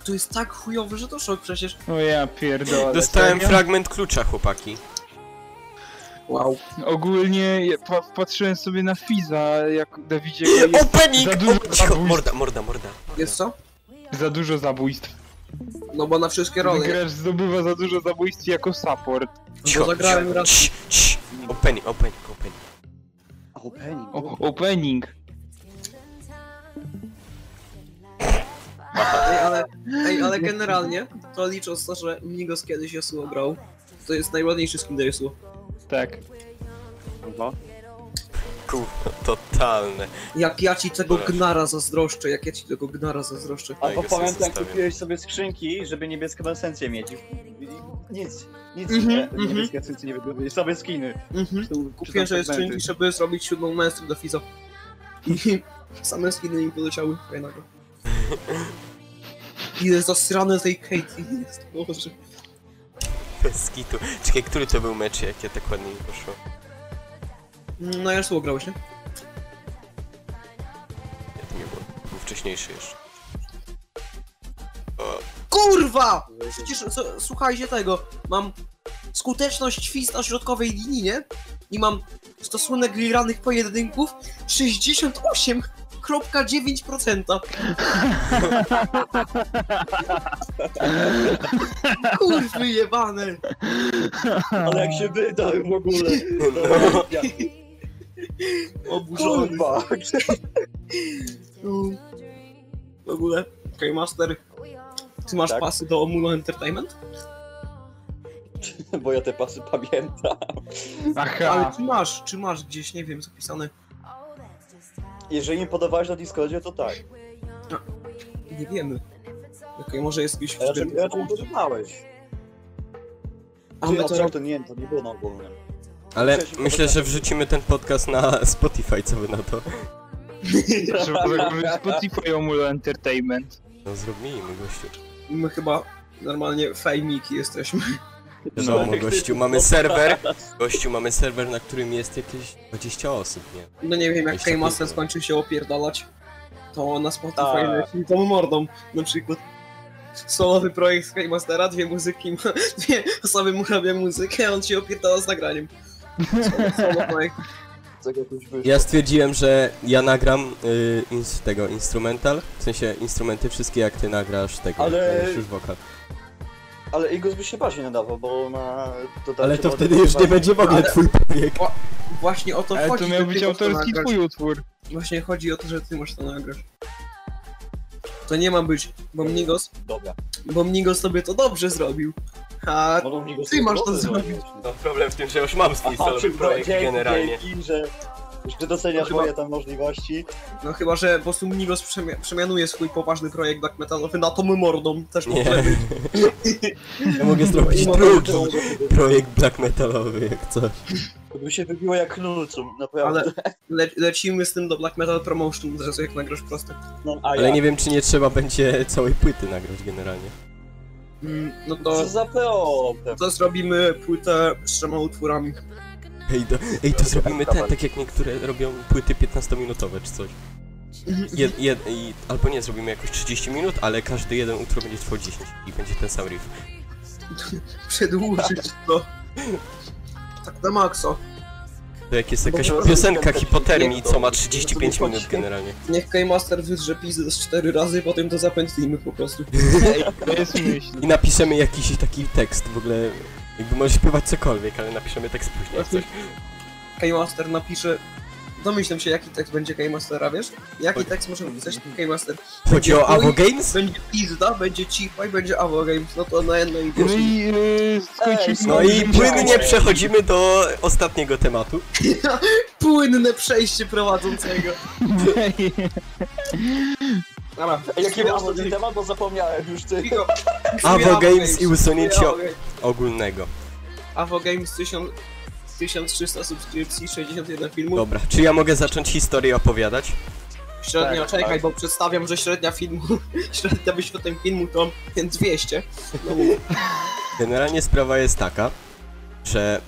Speaker 4: To jest tak chujowe, że to szok przecież.
Speaker 6: O No ja pierdolę. tak.
Speaker 2: Dostałem
Speaker 6: serio?
Speaker 2: fragment klucza, chłopaki.
Speaker 4: Wow.
Speaker 6: Ogólnie ja pa patrzyłem sobie na Fiza, jak Dawidzie
Speaker 2: Opening!
Speaker 6: za dużo
Speaker 2: O, cicho,
Speaker 6: zabójstw.
Speaker 2: morda, morda, morda.
Speaker 4: Wiesz co?
Speaker 6: za dużo zabójstw.
Speaker 4: No bo na wszystkie role. nie?
Speaker 6: Gracz zdobywa za dużo zabójstw jako support.
Speaker 2: Cicho,
Speaker 4: zagrałem
Speaker 2: cicho.
Speaker 4: raz.
Speaker 2: Cii, cii. Opening, opening, opening.
Speaker 1: Opening.
Speaker 6: O opening.
Speaker 4: Ej, ale, ej, ale generalnie, to licząc to, że Migos kiedyś Yasuo grał, to jest najładniejszy skin do Yasuo.
Speaker 6: Tak.
Speaker 5: No.
Speaker 1: Kurwa.
Speaker 2: Kurwa, totalne.
Speaker 4: Jak ja ci tego
Speaker 2: Dobra.
Speaker 4: gnara zazdroszczę, jak ja ci tego gnara zazdroszczę.
Speaker 1: A
Speaker 2: Tak, ja sobie
Speaker 1: opowiem, jak
Speaker 2: zostawiam.
Speaker 1: kupiłeś sobie skrzynki, żeby niebieską esencję mieć. I- i- Nic, nic,
Speaker 4: Mhm,
Speaker 1: nie,
Speaker 4: mhm.
Speaker 1: niebieskie esencje nie wydobyli, same skiny.
Speaker 4: Mhm.
Speaker 1: Czy tam- czy tam
Speaker 4: Kupiłem sobie
Speaker 1: fragmenty.
Speaker 4: skrzynki, żeby zrobić siódmą męstru do Fizo. I *laughs* same skiny mi poleciały fajnego. Ile zasrane tej Katie jest, boże.
Speaker 2: Bez kitu. Czekaj, który to był mecz, jak ja tak ładnie mi poszło?
Speaker 4: No Yasuo grałeś, nie?
Speaker 2: Ja to nie było. Był wcześniejszy jeszcze.
Speaker 4: Kurwa! Przecież s- słuchajcie tego, mam skuteczność fist na środkowej linii, nie? I mam stosunek granych pojedynków 68,9%. Kurwy jebane!
Speaker 1: Ale jak się wyda w *laughs* ogóle.
Speaker 2: No.
Speaker 1: Ja,
Speaker 4: Oburzony.
Speaker 1: kurwa.
Speaker 4: No. W ogóle, okay, Master, ty masz
Speaker 1: Tak.
Speaker 4: pasy do Omulo Entertainment?
Speaker 1: *laughs* Bo ja te pasy pamiętam.
Speaker 4: Ale
Speaker 6: Aha.
Speaker 4: czy masz, czy masz gdzieś, nie wiem, zapisane?
Speaker 1: Jeżeli im podawałeś na Discordzie, to tak.
Speaker 4: Nie wiemy. Okej, może jest gdzieś w
Speaker 1: A Raczej
Speaker 4: tym-
Speaker 1: raczej im podawałeś.
Speaker 4: A
Speaker 1: Ty,
Speaker 4: my
Speaker 1: a
Speaker 4: to
Speaker 1: czemu to nie, to nie było na ogólnym.
Speaker 2: Ale myślę,
Speaker 6: tak.
Speaker 2: że wrzucimy ten podcast na *laughs* Spotify, co wy na to?
Speaker 6: *laughs* Trzeba założyć Spotify Omulo Entertainment.
Speaker 2: No zrobimy, gościu.
Speaker 4: My chyba normalnie fejmiki jesteśmy.
Speaker 2: No,
Speaker 1: *laughs*
Speaker 2: gościu, mamy serwer. Gościu, mamy serwer, na którym jest jakieś 20 osób, nie?
Speaker 4: No nie wiem, jak
Speaker 2: Jeszcze
Speaker 4: K-Master
Speaker 2: później.
Speaker 4: skończy się opierdalać, to na Spotify
Speaker 1: Tak.
Speaker 4: leci tą mordą. Na przykład solowy projekt K-Mastera, dwie muzyki, ma- *laughs* dwie osoby mu robią muzykę, a on się opierdala z nagraniem. Solo- Solo projekt.
Speaker 2: Ja stwierdziłem, że ja nagram y, ins, tego instrumental, w sensie instrumenty wszystkie jak ty nagrasz tego,
Speaker 1: Ale-
Speaker 2: jak nagrasz już wokal.
Speaker 1: Ale Igos by się bardziej nadawał, bo ma... dotarcie
Speaker 2: Ale to
Speaker 1: do-
Speaker 2: wtedy już nie będzie w ogóle
Speaker 4: Ale-
Speaker 2: twój powiek.
Speaker 4: Właśnie o to
Speaker 6: Ale
Speaker 4: chodzi.
Speaker 6: to miał
Speaker 4: że No ty
Speaker 6: być
Speaker 4: masz to
Speaker 6: autorski
Speaker 4: nagrać.
Speaker 6: twój utwór.
Speaker 4: Właśnie chodzi o to, że ty masz to nagrać. To nie ma być, bo Mnigos,
Speaker 1: Dobra.
Speaker 4: bo Mnigos sobie to dobrze zrobił. A
Speaker 1: No, to Igos
Speaker 4: Ty masz to
Speaker 1: dobrze
Speaker 4: zrobić.
Speaker 2: No, problem w tym, że już mam swój solowy projekt
Speaker 1: dzięki,
Speaker 2: generalnie.
Speaker 1: Dzięki, że, że doceniasz
Speaker 4: Chyba-
Speaker 1: moje tam możliwości.
Speaker 4: No chyba, że po prostu Mnigos przemia- przemianuje swój poważny projekt black metalowy na Tomy Mordą, też
Speaker 2: Nie.
Speaker 4: może być.
Speaker 2: *laughs* Ja mogę zrobić
Speaker 4: I mogę
Speaker 2: drugi
Speaker 1: To by-
Speaker 2: projekt black metalowy, jak coś.
Speaker 1: To by się wybiło jak knulcum, naprawdę.
Speaker 4: Ale le lecimy z tym do black metal promotion od razu jak nagrasz proste.
Speaker 1: No, a
Speaker 2: Ale
Speaker 1: ja.
Speaker 2: nie wiem, czy nie trzeba będzie całej płyty nagrać generalnie.
Speaker 4: Mm, no
Speaker 1: Co
Speaker 4: to,
Speaker 1: za PO?
Speaker 4: to zrobimy płytę z trzema utworami. *laughs*
Speaker 2: Ej, do, ej to zrobimy te, tak jak niektóre robią płyty 15-minutowe czy coś. Jed, jed, i, albo nie, zrobimy jakoś 30 minut, ale każdy jeden utwór będzie trwał 10 i będzie ten sam riff.
Speaker 4: Przedłużyć to. Tak na maksa.
Speaker 2: To jak jest jakaś
Speaker 1: Dobra,
Speaker 2: piosenka
Speaker 1: rozumiem,
Speaker 2: hipotermii,
Speaker 1: nie,
Speaker 2: co ma
Speaker 1: to-
Speaker 2: 35
Speaker 4: to nie
Speaker 2: minut
Speaker 4: chodzi.
Speaker 2: generalnie.
Speaker 4: Niech K-Master wydrze pizdę z cztery razy i potem to zapętlimy po
Speaker 2: *laughs*
Speaker 4: prostu.
Speaker 6: To jest myśl.
Speaker 2: I napiszemy jakiś taki tekst w ogóle. Jakby możesz śpiewać cokolwiek, ale napiszemy tekst później. jak Coś.
Speaker 4: K-Master napisze... Domyślam się, jaki tekst będzie K-Mastera, wiesz? Jaki tekst może napisać K-Master?
Speaker 2: Chodzi o Avo Games?
Speaker 4: Będzie pizda, będzie cipa i będzie Avo Games, no to na jedno i
Speaker 6: No
Speaker 4: pierwszy.
Speaker 6: i yy, skończyliśmy.
Speaker 2: No
Speaker 6: na
Speaker 2: i
Speaker 6: tym
Speaker 2: płynnie
Speaker 6: działaniu.
Speaker 2: przechodzimy do ostatniego tematu.
Speaker 4: Płynne przejście prowadzącego.
Speaker 6: *laughs*
Speaker 2: *laughs*
Speaker 4: Dobra,
Speaker 1: Jaki był ostatni temat, bo zapomniałem już ty.
Speaker 4: Pigo.
Speaker 2: Avo Games i usunięcie
Speaker 4: Avo
Speaker 2: o-
Speaker 4: Games.
Speaker 2: ogólnego.
Speaker 4: Avo Games 1000 1300 subskrypcji, 61 filmów.
Speaker 2: Dobra, czy ja mogę zacząć historię opowiadać?
Speaker 4: Średnia,
Speaker 6: Tak,
Speaker 4: czekaj,
Speaker 6: tak.
Speaker 4: bo przedstawiam, że średnia filmu, *laughs* średnia wyświetleń filmu to 200.
Speaker 2: Generalnie sprawa jest taka, że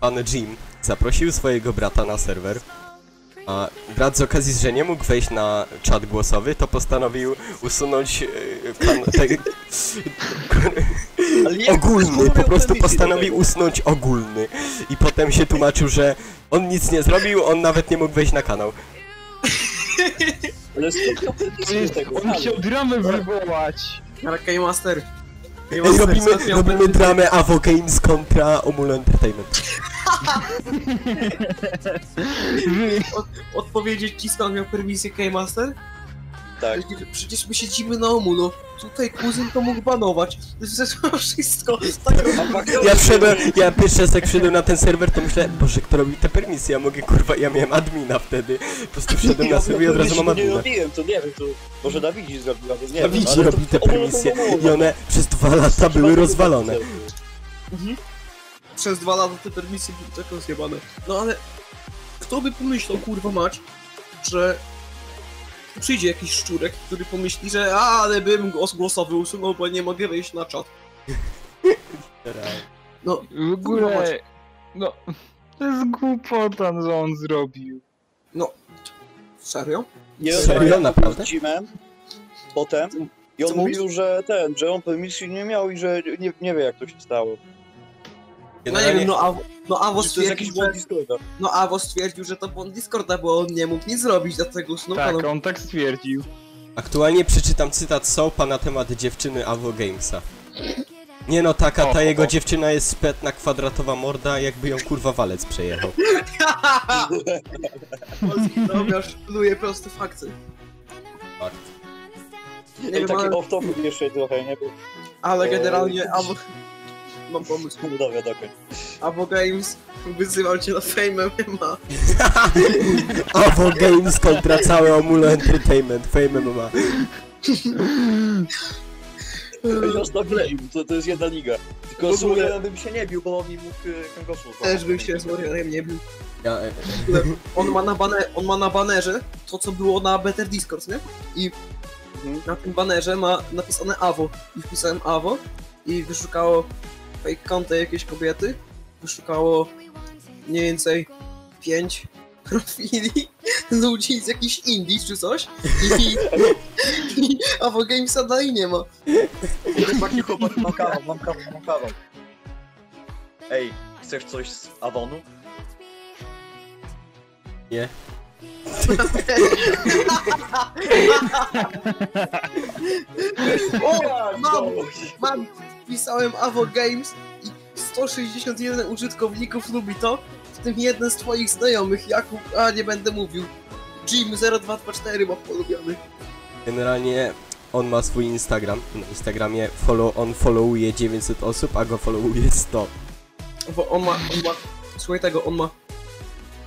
Speaker 2: pan Jim zaprosił swojego brata na serwer A brat z okazji, że nie mógł wejść na czat głosowy, to postanowił usunąć yy, kan- te, ogólny, po prostu postanowił usunąć ogólny. I potem się tłumaczył, że on nic nie zrobił, on nawet nie mógł wejść na kanał.
Speaker 5: Ale skąd
Speaker 1: tak
Speaker 5: tego?
Speaker 6: On chciał dramę wywołać.
Speaker 4: Ale Keymaster.
Speaker 2: Ej, robimy, robimy dramę Avo Games kontra Omul Entertainment.
Speaker 4: Odpowiedzieć ci skąd miał permisję Keymaster?
Speaker 5: Tak.
Speaker 4: Przecież- Przecież my siedzimy na omu, no. Tutaj kuzyn to mógł banować. *laughs* Zresztą wszystko. Tak,
Speaker 2: Ja wszedłem, ja pierwszy raz jak wszedłem na ten serwer, to myślałem, boże, kto robi te permisje, ja mogę, kurwa, ja miałem admina wtedy. Po prostu wszedłem na serwer i od razu mam
Speaker 5: Nie
Speaker 2: admina.
Speaker 5: robiłem, to nie wiem, to może Dawidzi zrobiła, to nie wiem.
Speaker 2: Dawidzi
Speaker 5: ale to-
Speaker 2: robi te
Speaker 5: O, no,
Speaker 2: permisje
Speaker 5: no, no, no.
Speaker 2: i one przez dwa lata były rozwalone.
Speaker 4: przez dwa lata te permisje były taką zjebane. No ale kto by pomyślał, kurwa mać, że przyjdzie jakiś szczurek, który pomyśli, że a, ale bym głos głosowy usunął, bo nie mogę wejść na czat. No,
Speaker 6: W ogóle... No... To jest głupota, no, co on zrobił.
Speaker 4: serio?
Speaker 5: Nie
Speaker 2: Serio?
Speaker 5: rozmawiałem
Speaker 2: Naprawdę?
Speaker 5: z Jimem potem i
Speaker 4: Co
Speaker 5: on
Speaker 4: mówisz?
Speaker 5: mówił, że ten, że on permisji nie miał i że nie, nie wie jak to się stało.
Speaker 4: No nie wiem, no Awo, no Awo
Speaker 5: Że to jest jakiś
Speaker 4: stwierdził,
Speaker 5: błąd
Speaker 4: że,
Speaker 5: Discorda.
Speaker 4: no Awo stwierdził, że to błąd Discorda, bo on nie mógł nic zrobić, dlatego usunął
Speaker 6: Tak,
Speaker 4: kanał.
Speaker 6: on tak stwierdził.
Speaker 2: Aktualnie przeczytam cytat Soapa na temat dziewczyny Avo Gamesa. Nie no, taka
Speaker 6: O,
Speaker 2: ta
Speaker 6: o,
Speaker 2: jego
Speaker 6: o.
Speaker 2: dziewczyna jest spetna, kwadratowa morda, jakby ją kurwa walec przejechał.
Speaker 4: Polski Dobra, szanuje proste fakty.
Speaker 2: Fakt.
Speaker 4: Nie
Speaker 5: I
Speaker 4: wiem,
Speaker 5: taki
Speaker 4: ale,
Speaker 5: off-topic jeszcze trochę, nie? Bo *laughs*
Speaker 4: ale
Speaker 5: e,
Speaker 4: generalnie Awo... Mam pomysł.
Speaker 5: no dobra, dobra.
Speaker 4: Abo Games wyzywał cię na Fame MMA.
Speaker 2: Avo Games kontra całe Omulo Entertainment, Fame MMA.
Speaker 5: Zostawiłem, to, to jest jedna liga.
Speaker 4: W
Speaker 5: Tylko
Speaker 4: ogóle-
Speaker 5: Surian bym się nie bił, bo on mi mógł e, kręgosłup.
Speaker 4: Też bym się z Warriorem nie bił.
Speaker 2: Ja, e,
Speaker 4: On ma, na bane- on ma na banerze to, co było na Better Discord, nie? I
Speaker 5: Mhm.
Speaker 4: na tym banerze ma napisane AWO. I wpisałem AWO i wyszukało fake konta jakiejś kobiety. Wyszukało mniej więcej 5 profili *laughs* ludzi z jakichś Indii czy coś. I, i AWO Gamesa dalej nie ma.
Speaker 5: Chłopaki, chłopaki, mam kawał, mam kawał, mam kawał. Ej, chcesz coś z Avonu?
Speaker 4: O, mam! Mam! Wpisałem Avo Games i 161 użytkowników lubi to, w tym jeden z twoich znajomych, Jakub, a nie będę mówił. Jim0224 ma polubiony.
Speaker 2: generalnie on ma swój Instagram. Na Instagramie follow, on followuje 900 osób, a go followuje 100.
Speaker 4: Bo on ma, on ma, słuchaj tego, on ma,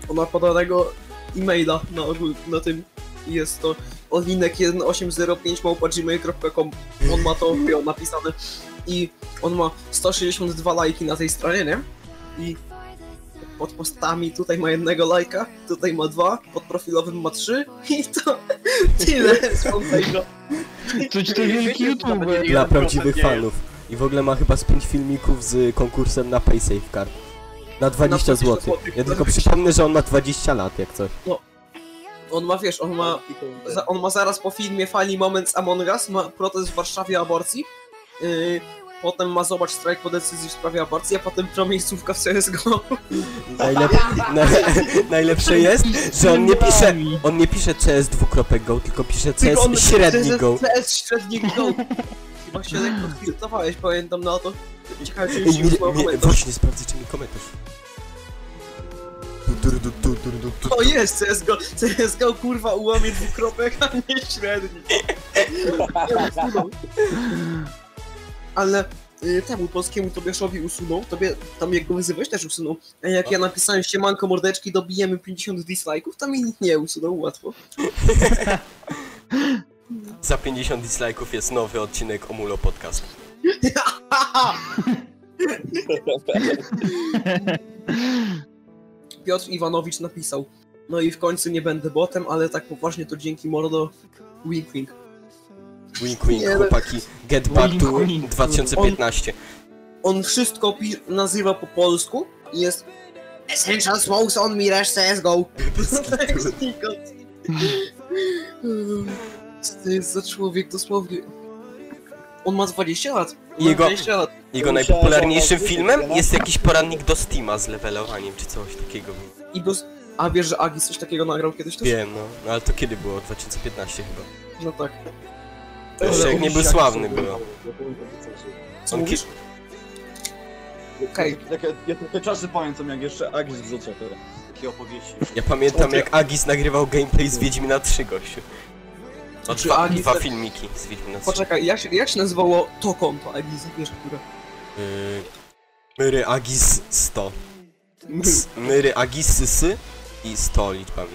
Speaker 4: on ma podanego e-maila na ogół, na tym i jest to odlinek 1805 małpa gmail.com on ma to bio napisane i on ma 162 lajki na tej stronie, nie? I pod postami tutaj ma jednego lajka, tutaj ma dwa, pod profilowym ma trzy i to *laughs* tyle z tego.
Speaker 6: To ci to wielki youtuber.
Speaker 2: Dla prawdziwych fanów. I w ogóle ma chyba z 5 filmików z konkursem na PaySafe Card. Na 20
Speaker 4: 20
Speaker 2: zł.
Speaker 4: złotych.
Speaker 2: Ja tylko przypomnę, że on ma 20 lat, jak coś.
Speaker 4: On ma, wiesz, on ma Za, on ma zaraz po filmie Funny Moments Among Us, ma protest w Warszawie aborcji, yy, potem ma zobacz strajk po decyzji w sprawie aborcji, a potem promiejscówka w CSGO.
Speaker 2: Najlep... na... Najlepsze jest, że on nie pisze. On nie pisze CS dwukropek go, tylko pisze
Speaker 4: *laughs* Tylko on-
Speaker 2: CS średni
Speaker 4: CS *laughs*
Speaker 2: go.
Speaker 4: CS średni go. Chyba się lekko filtrowałeś, pamiętam na to. Ciekawe, czy już
Speaker 2: Ej,
Speaker 4: ci
Speaker 2: mi,
Speaker 4: usunął
Speaker 2: mi,
Speaker 4: komentarz.
Speaker 2: właśnie sprawdzę, czy mi komentarz. Du, du, du, du, du, du, du.
Speaker 4: O jest, CSGO, CSGO kurwa ułamie dwukropek, a nie średni. Nie, usunął. Ale y, temu polskiemu Tobiaszowi usunął, tobie tam jak go wyzywać też usunął. A jak ja napisałem siemanko mordeczki, dobijemy 50 dislike'ów, to mi nie usunął łatwo.
Speaker 2: Za 50 dislike'ów jest nowy odcinek Omulo Podcast.
Speaker 4: Piotr Iwanowicz napisał. No i w końcu nie będę botem, ale tak poważnie to dzięki mordo wink wink.
Speaker 2: Wink, wink,
Speaker 4: Nie, no-
Speaker 2: chłopaki. Get back
Speaker 6: Wink,
Speaker 2: to
Speaker 6: wink.
Speaker 2: 2015.
Speaker 4: On wszystko pi- nazywa po polsku i jest Essential smokes on Mirage CSGO. Co *laughs* to jest za człowiek dosłownie? On ma 20 lat. On ma
Speaker 2: Jego-
Speaker 4: 20 lat.
Speaker 2: Jego najpopularniejszym filmem jest jakiś poradnik do Steama z levelowaniem czy coś takiego.
Speaker 4: I dos... A wiesz, że Agi coś takiego nagrał kiedyś też?
Speaker 2: Wiem, no. no ale to kiedy było? 2015 chyba.
Speaker 4: No tak.
Speaker 2: To jeszcze jak nie był sławny było.
Speaker 4: Co
Speaker 2: On, ki-
Speaker 4: mówisz? Okej.
Speaker 5: Jak, ja- ja te czasy pamiętam, jak jeszcze Agis wrzucał te takie opowieści.
Speaker 2: Ja pamiętam jak Agis nagrywał gameplay z Wiedźmina 3 gościu. No,
Speaker 4: Czy
Speaker 2: dwa,
Speaker 4: Agis-
Speaker 2: dwa filmiki z Wiedźmina 3.
Speaker 4: Poczekaj, jak się, jak się nazywało to konto Agi? Wiesz, które?
Speaker 2: Yy, Myry Agis 100. S- Myry Agissy i 100 liczbami.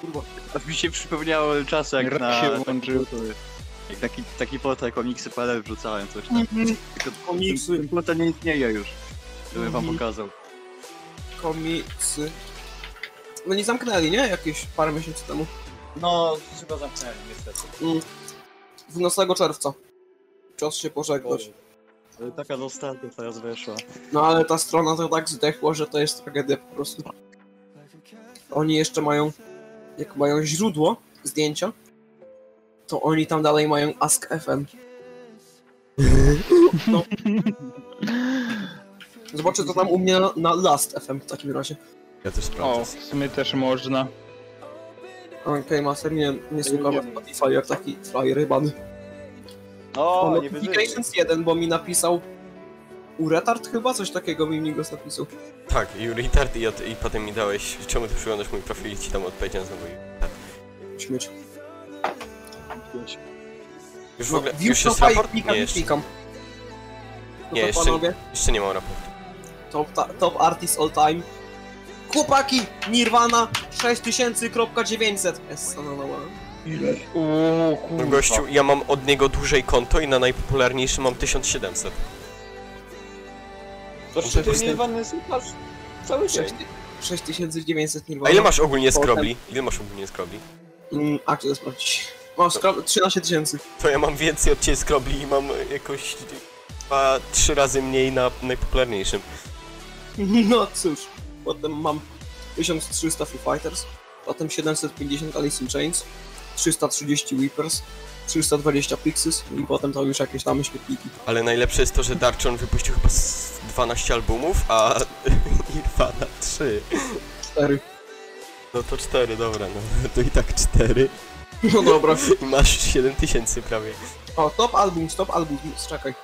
Speaker 4: Kurwa.
Speaker 5: Aż Tak mi się przypomniało czasy, jak
Speaker 6: Rok
Speaker 5: na...
Speaker 6: się włączył.
Speaker 5: Jak taki, taki portal komiksy PL wrzucałem coś tam. Tylko
Speaker 4: Komiksy.
Speaker 5: Ten portal nie istnieje już. Gdybym wam
Speaker 4: Mhm.
Speaker 5: pokazał.
Speaker 4: Komiksy. No nie zamknęli, nie? Jakieś parę miesięcy temu.
Speaker 5: No, chyba zamknęli niestety.
Speaker 4: 12 czerwca. Czas się pożegnać.
Speaker 5: Ale taka nostalgia teraz wyszła.
Speaker 4: No ale ta strona to tak zdechła, że to jest tragedia po prostu. Oni jeszcze mają, jak mają źródło zdjęcia, to oni tam dalej mają Ask FM. No. Zobaczę to tam u mnie na, na Last FM w takim razie.
Speaker 2: Ja też
Speaker 6: O,
Speaker 2: sprawdzę.
Speaker 6: w sumie też można.
Speaker 4: Okej, master, nie, nie słucham Spotify jak taki frajer rybany.
Speaker 5: O,
Speaker 4: O,
Speaker 5: nie wyżyję.
Speaker 4: Notifications 1, bo mi napisał... Uretard chyba? Coś takiego mi Migos napisał.
Speaker 2: Tak, i retard i, od- i potem mi dałeś, czemu ty przyglądasz mój profil i ci tam odpowiedziałem znowu. retard.
Speaker 4: Śmieć.
Speaker 2: Już w ogóle,
Speaker 4: No,
Speaker 2: już jest
Speaker 4: Viewshop'a i
Speaker 2: raport?
Speaker 4: klikam,
Speaker 2: Nie,
Speaker 4: i
Speaker 2: jeszcze,
Speaker 4: klikam. No
Speaker 2: Nie,
Speaker 4: to
Speaker 2: jeszcze-
Speaker 4: panowie,
Speaker 2: jeszcze nie mam raportu.
Speaker 4: top, ta, top artist all time. Chłopaki, Nirvana 6000.900. Es, no, no, no.
Speaker 6: Uuu,
Speaker 2: No
Speaker 6: kurwa.
Speaker 2: gościu, ja mam od niego dłużej konto i na najpopularniejszym mam 1700.
Speaker 5: To
Speaker 2: czy ty nie
Speaker 5: wanny sypasz cały
Speaker 4: 6 6900 Nirvana.
Speaker 2: A ile masz ogólnie
Speaker 4: No. Potem.
Speaker 2: skrobli? Ile masz ogólnie skrobli?
Speaker 4: Mm, a, chcę to sprawdzić. Mam skra- 13 tysięcy. *laughs*
Speaker 2: To ja mam więcej od ciebie skrobli i mam jakoś dwa, trzy razy mniej na najpopularniejszym.
Speaker 4: No cóż. Potem mam 1300 Foo Fighters. Potem 750 Alice in Chains. 330 Weepers. 320 Pixies. I potem tam już jakieś tam śmietniki.
Speaker 2: Ale najlepsze jest to, że Darkchon wypuścił chyba z 12 albumów, a *laughs* Nirvana 3.
Speaker 4: 4.
Speaker 2: No to 4, dobra, no *laughs* to i tak 4.
Speaker 4: No dobra.
Speaker 2: I *laughs* masz 7000 prawie.
Speaker 4: O, top album, top album, czekaj.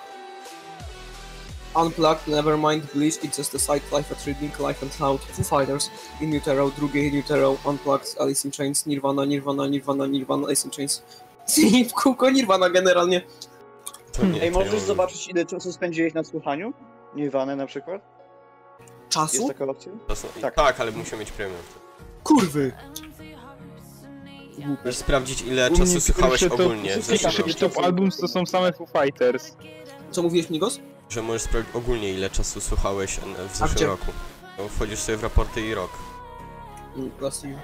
Speaker 4: Unplugged, Nevermind, Bleach, It's Just a Side, Life at Reading, Life and Sound, Foo Fighters, In Utero, drugie In Utero, Unplugged, Alice in Chains, Nirvana, Nirvana, Nirvana, Nirvana, Alice in Chains. *laughs* I w kółko Nirvana generalnie.
Speaker 2: To nie,
Speaker 1: Ej,
Speaker 2: to ja
Speaker 1: możesz
Speaker 2: mam-
Speaker 1: zobaczyć, ile czasu spędziłeś na słuchaniu? Nirwanę na przykład? Jest
Speaker 4: Czasu?
Speaker 1: taka opcja?
Speaker 2: Tak. tak, ale musiał mieć premium.
Speaker 4: Kurwy!
Speaker 2: Możesz sprawdzić ile
Speaker 6: U
Speaker 2: czasu
Speaker 6: mnie
Speaker 2: słuchałeś
Speaker 6: pierwsze to-
Speaker 2: ogólnie w zeszłym
Speaker 6: Klikam sobie
Speaker 2: roku.
Speaker 6: top albums to są same Foo Fighters.
Speaker 4: Co mówiłeś, Migos?
Speaker 2: Że możesz sprawdzić ogólnie ile czasu słuchałeś e, w
Speaker 4: gdzie?
Speaker 2: zeszłym roku. No, wchodzisz sobie w raporty i rok.
Speaker 4: Mm, Last Year.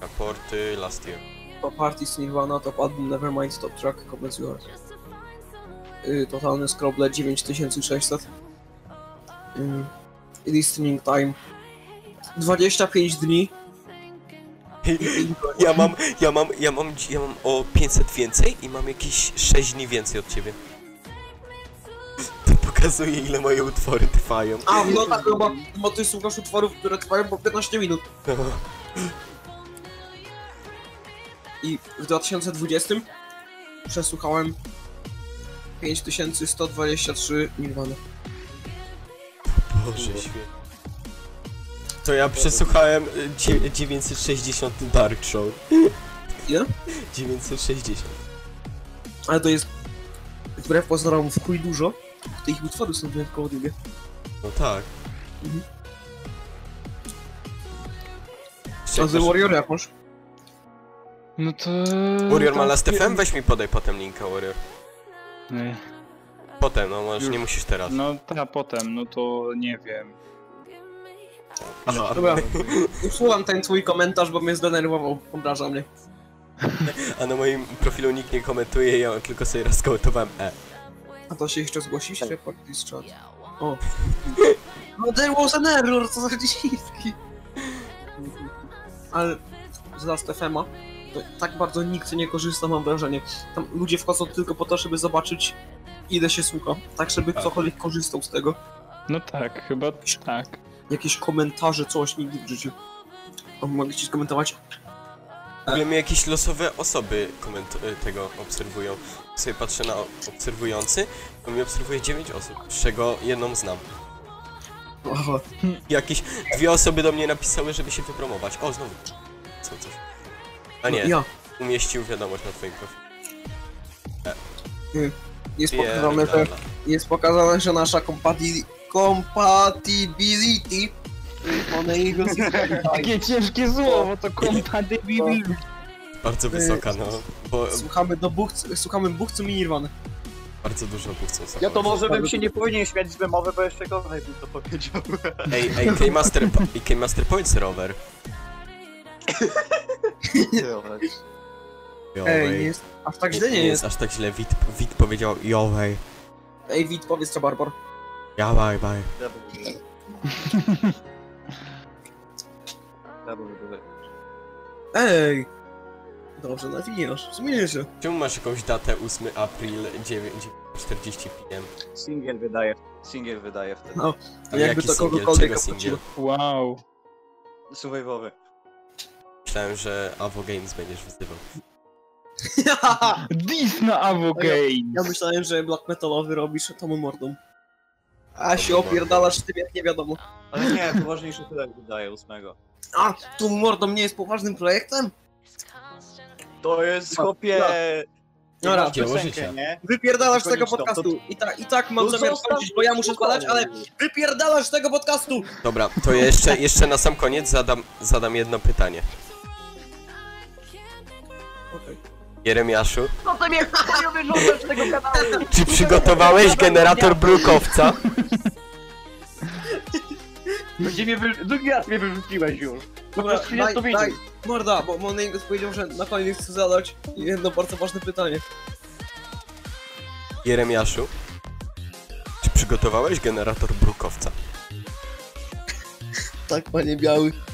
Speaker 2: Raporty last year. *laughs*
Speaker 4: Top Artist, Nirvana, Top Album, Nevermind, Top Track, Comments Your. Y, totalne skroble 9600. Y, listening Time 25 dni.
Speaker 2: Ja mam, ja mam, ja mam, dzi- ja mam o 500 więcej i mam jakieś 6 dni więcej od ciebie. To pokazuje ile moje utwory trwają.
Speaker 4: A, no tak, no bo, bo ty słuchasz utworów, które trwają po 15 minut. I w 2020 przesłuchałem 5123 Nirvana.
Speaker 2: Boże święty. To ja przesłuchałem y, dzie- 960 Dark Show.
Speaker 4: Ile?
Speaker 2: 960.
Speaker 4: Ale to jest wbrew pozorom w chuj dużo. Te ich utwory są wyjątkowo długie.
Speaker 2: No tak.
Speaker 4: Mhm.
Speaker 2: Jeszcze
Speaker 4: A
Speaker 2: jak
Speaker 4: The
Speaker 2: masz-
Speaker 4: Warrior jak masz?
Speaker 6: No to...
Speaker 2: Warrior ma Last FM? Weź mi podaj potem linka Warrior.
Speaker 6: Nie.
Speaker 2: Potem, no możesz, nie
Speaker 6: Już.
Speaker 2: musisz teraz.
Speaker 6: No ta potem, no to nie wiem.
Speaker 2: Aha. *laughs*
Speaker 4: Dobra. Usuwam ten twój komentarz, bo mnie zdenerwował. Obraża mnie.
Speaker 2: A na moim profilu nikt nie komentuje, ja tylko sobie raz komentowałem E. Tak.
Speaker 4: A to się jeszcze zgłosisz? Report discharge. O. *laughs* No there was an error, co za dziwki. Ale z Last FM-a to tak bardzo nikt nie korzysta, mam wrażenie. Tam ludzie wchodzą tylko po to, żeby zobaczyć ile się słucha, tak żeby ktokolwiek korzystał z tego.
Speaker 6: No tak, chyba tak.
Speaker 4: Jakieś komentarze, coś, nigdy w życiu. O, mogę ci skomentować?
Speaker 2: W ogóle mnie jakieś losowe osoby koment y, tego obserwują. Sobie patrzę na o- obserwujący, to mnie obserwuje 9 osób, z czego jedną znam.
Speaker 4: Aha.
Speaker 2: Jakieś dwie osoby do mnie napisały, żeby się wypromować. O, znowu. Co coś. A nie,
Speaker 4: Ja.
Speaker 2: umieścił wiadomość na twoim profilu.
Speaker 4: Jest pokazane, że,
Speaker 2: Pierdala.
Speaker 4: jest pokazane, że nasza compati- compatibility y, One Eagles jest
Speaker 6: Takie ciężkie słowo, to kompatybilny.
Speaker 4: y-
Speaker 2: Bardzo wysoka, no. Bo
Speaker 4: Słuchamy do buchcu, słuchamy buchcu i Nirwany.
Speaker 2: bardzo dużo buchcą są.
Speaker 5: Ja to może bym się nie powinien śmiać z wymowy, bo jeszcze gorzej bym to powiedział.
Speaker 2: Ej, ej, K-Master, pa- K-Master powiedz rower.
Speaker 4: Ej, nie jest, aż tak źle nie jest.
Speaker 2: aż tak źle. Wit, Wit powiedział, jowej,
Speaker 4: Ej, Wit, powiedz co, Barbor.
Speaker 2: jawaj, baj.
Speaker 4: Ej! Dobrze, no nawiniesz, zmienisz się.
Speaker 2: Czemu masz jakąś datę 8 april 9.40 p.m.?
Speaker 5: Singiel wydaje. Singiel wydaje wtedy.
Speaker 4: No.
Speaker 2: A
Speaker 4: Jakby
Speaker 2: jaki
Speaker 4: to
Speaker 2: singiel?
Speaker 4: kogokolwiek
Speaker 2: Czego singiel?
Speaker 4: obchodziło. *laughs*
Speaker 6: Wow.
Speaker 5: Survivowy.
Speaker 2: Myślałem, że Avo Games będziesz wyzywał.
Speaker 6: Dis na Avocaine.
Speaker 4: Ja myślałem, że black metalowy robisz tą mordą. A
Speaker 2: Tomu
Speaker 4: się opierdalasz tym jak nie wiadomo.
Speaker 5: Ale nie, poważniejszy tyle wydaje ósmego.
Speaker 4: A, tu mordą nie jest poważnym projektem?
Speaker 5: To jest
Speaker 4: No,
Speaker 5: chłopie...
Speaker 4: Dobra,
Speaker 2: Dzieło
Speaker 5: Piosenkę,
Speaker 2: życia.
Speaker 5: nie?
Speaker 4: wypierdalasz z
Speaker 5: Tylko
Speaker 4: tego
Speaker 5: nic tam,
Speaker 4: podcastu. I, ta, I tak mam
Speaker 5: No
Speaker 4: zamiar
Speaker 5: zostaw-
Speaker 4: kończyć, bo ja muszę spadać, ale wypierdalasz z tego podcastu!
Speaker 2: Dobra, to
Speaker 4: *laughs*
Speaker 2: jeszcze, jeszcze na sam koniec zadam, zadam jedno pytanie.
Speaker 4: Okej.
Speaker 2: Jeremiaszu,
Speaker 7: No to mnie chuju wyrzucę z tego kanału!
Speaker 2: czy przygotowałeś generator brukowca?
Speaker 1: Będzie mnie wy... Drugi raz mnie wyrzuciłeś już.
Speaker 4: Dobra,
Speaker 1: prostu ja
Speaker 4: daj,
Speaker 1: to widzę.
Speaker 4: daj, morda, bo Moningus powiedział, że na koniec chcę zadać jedno bardzo ważne pytanie.
Speaker 2: Jeremiaszu, czy przygotowałeś generator brukowca?
Speaker 4: Tak, panie Biały.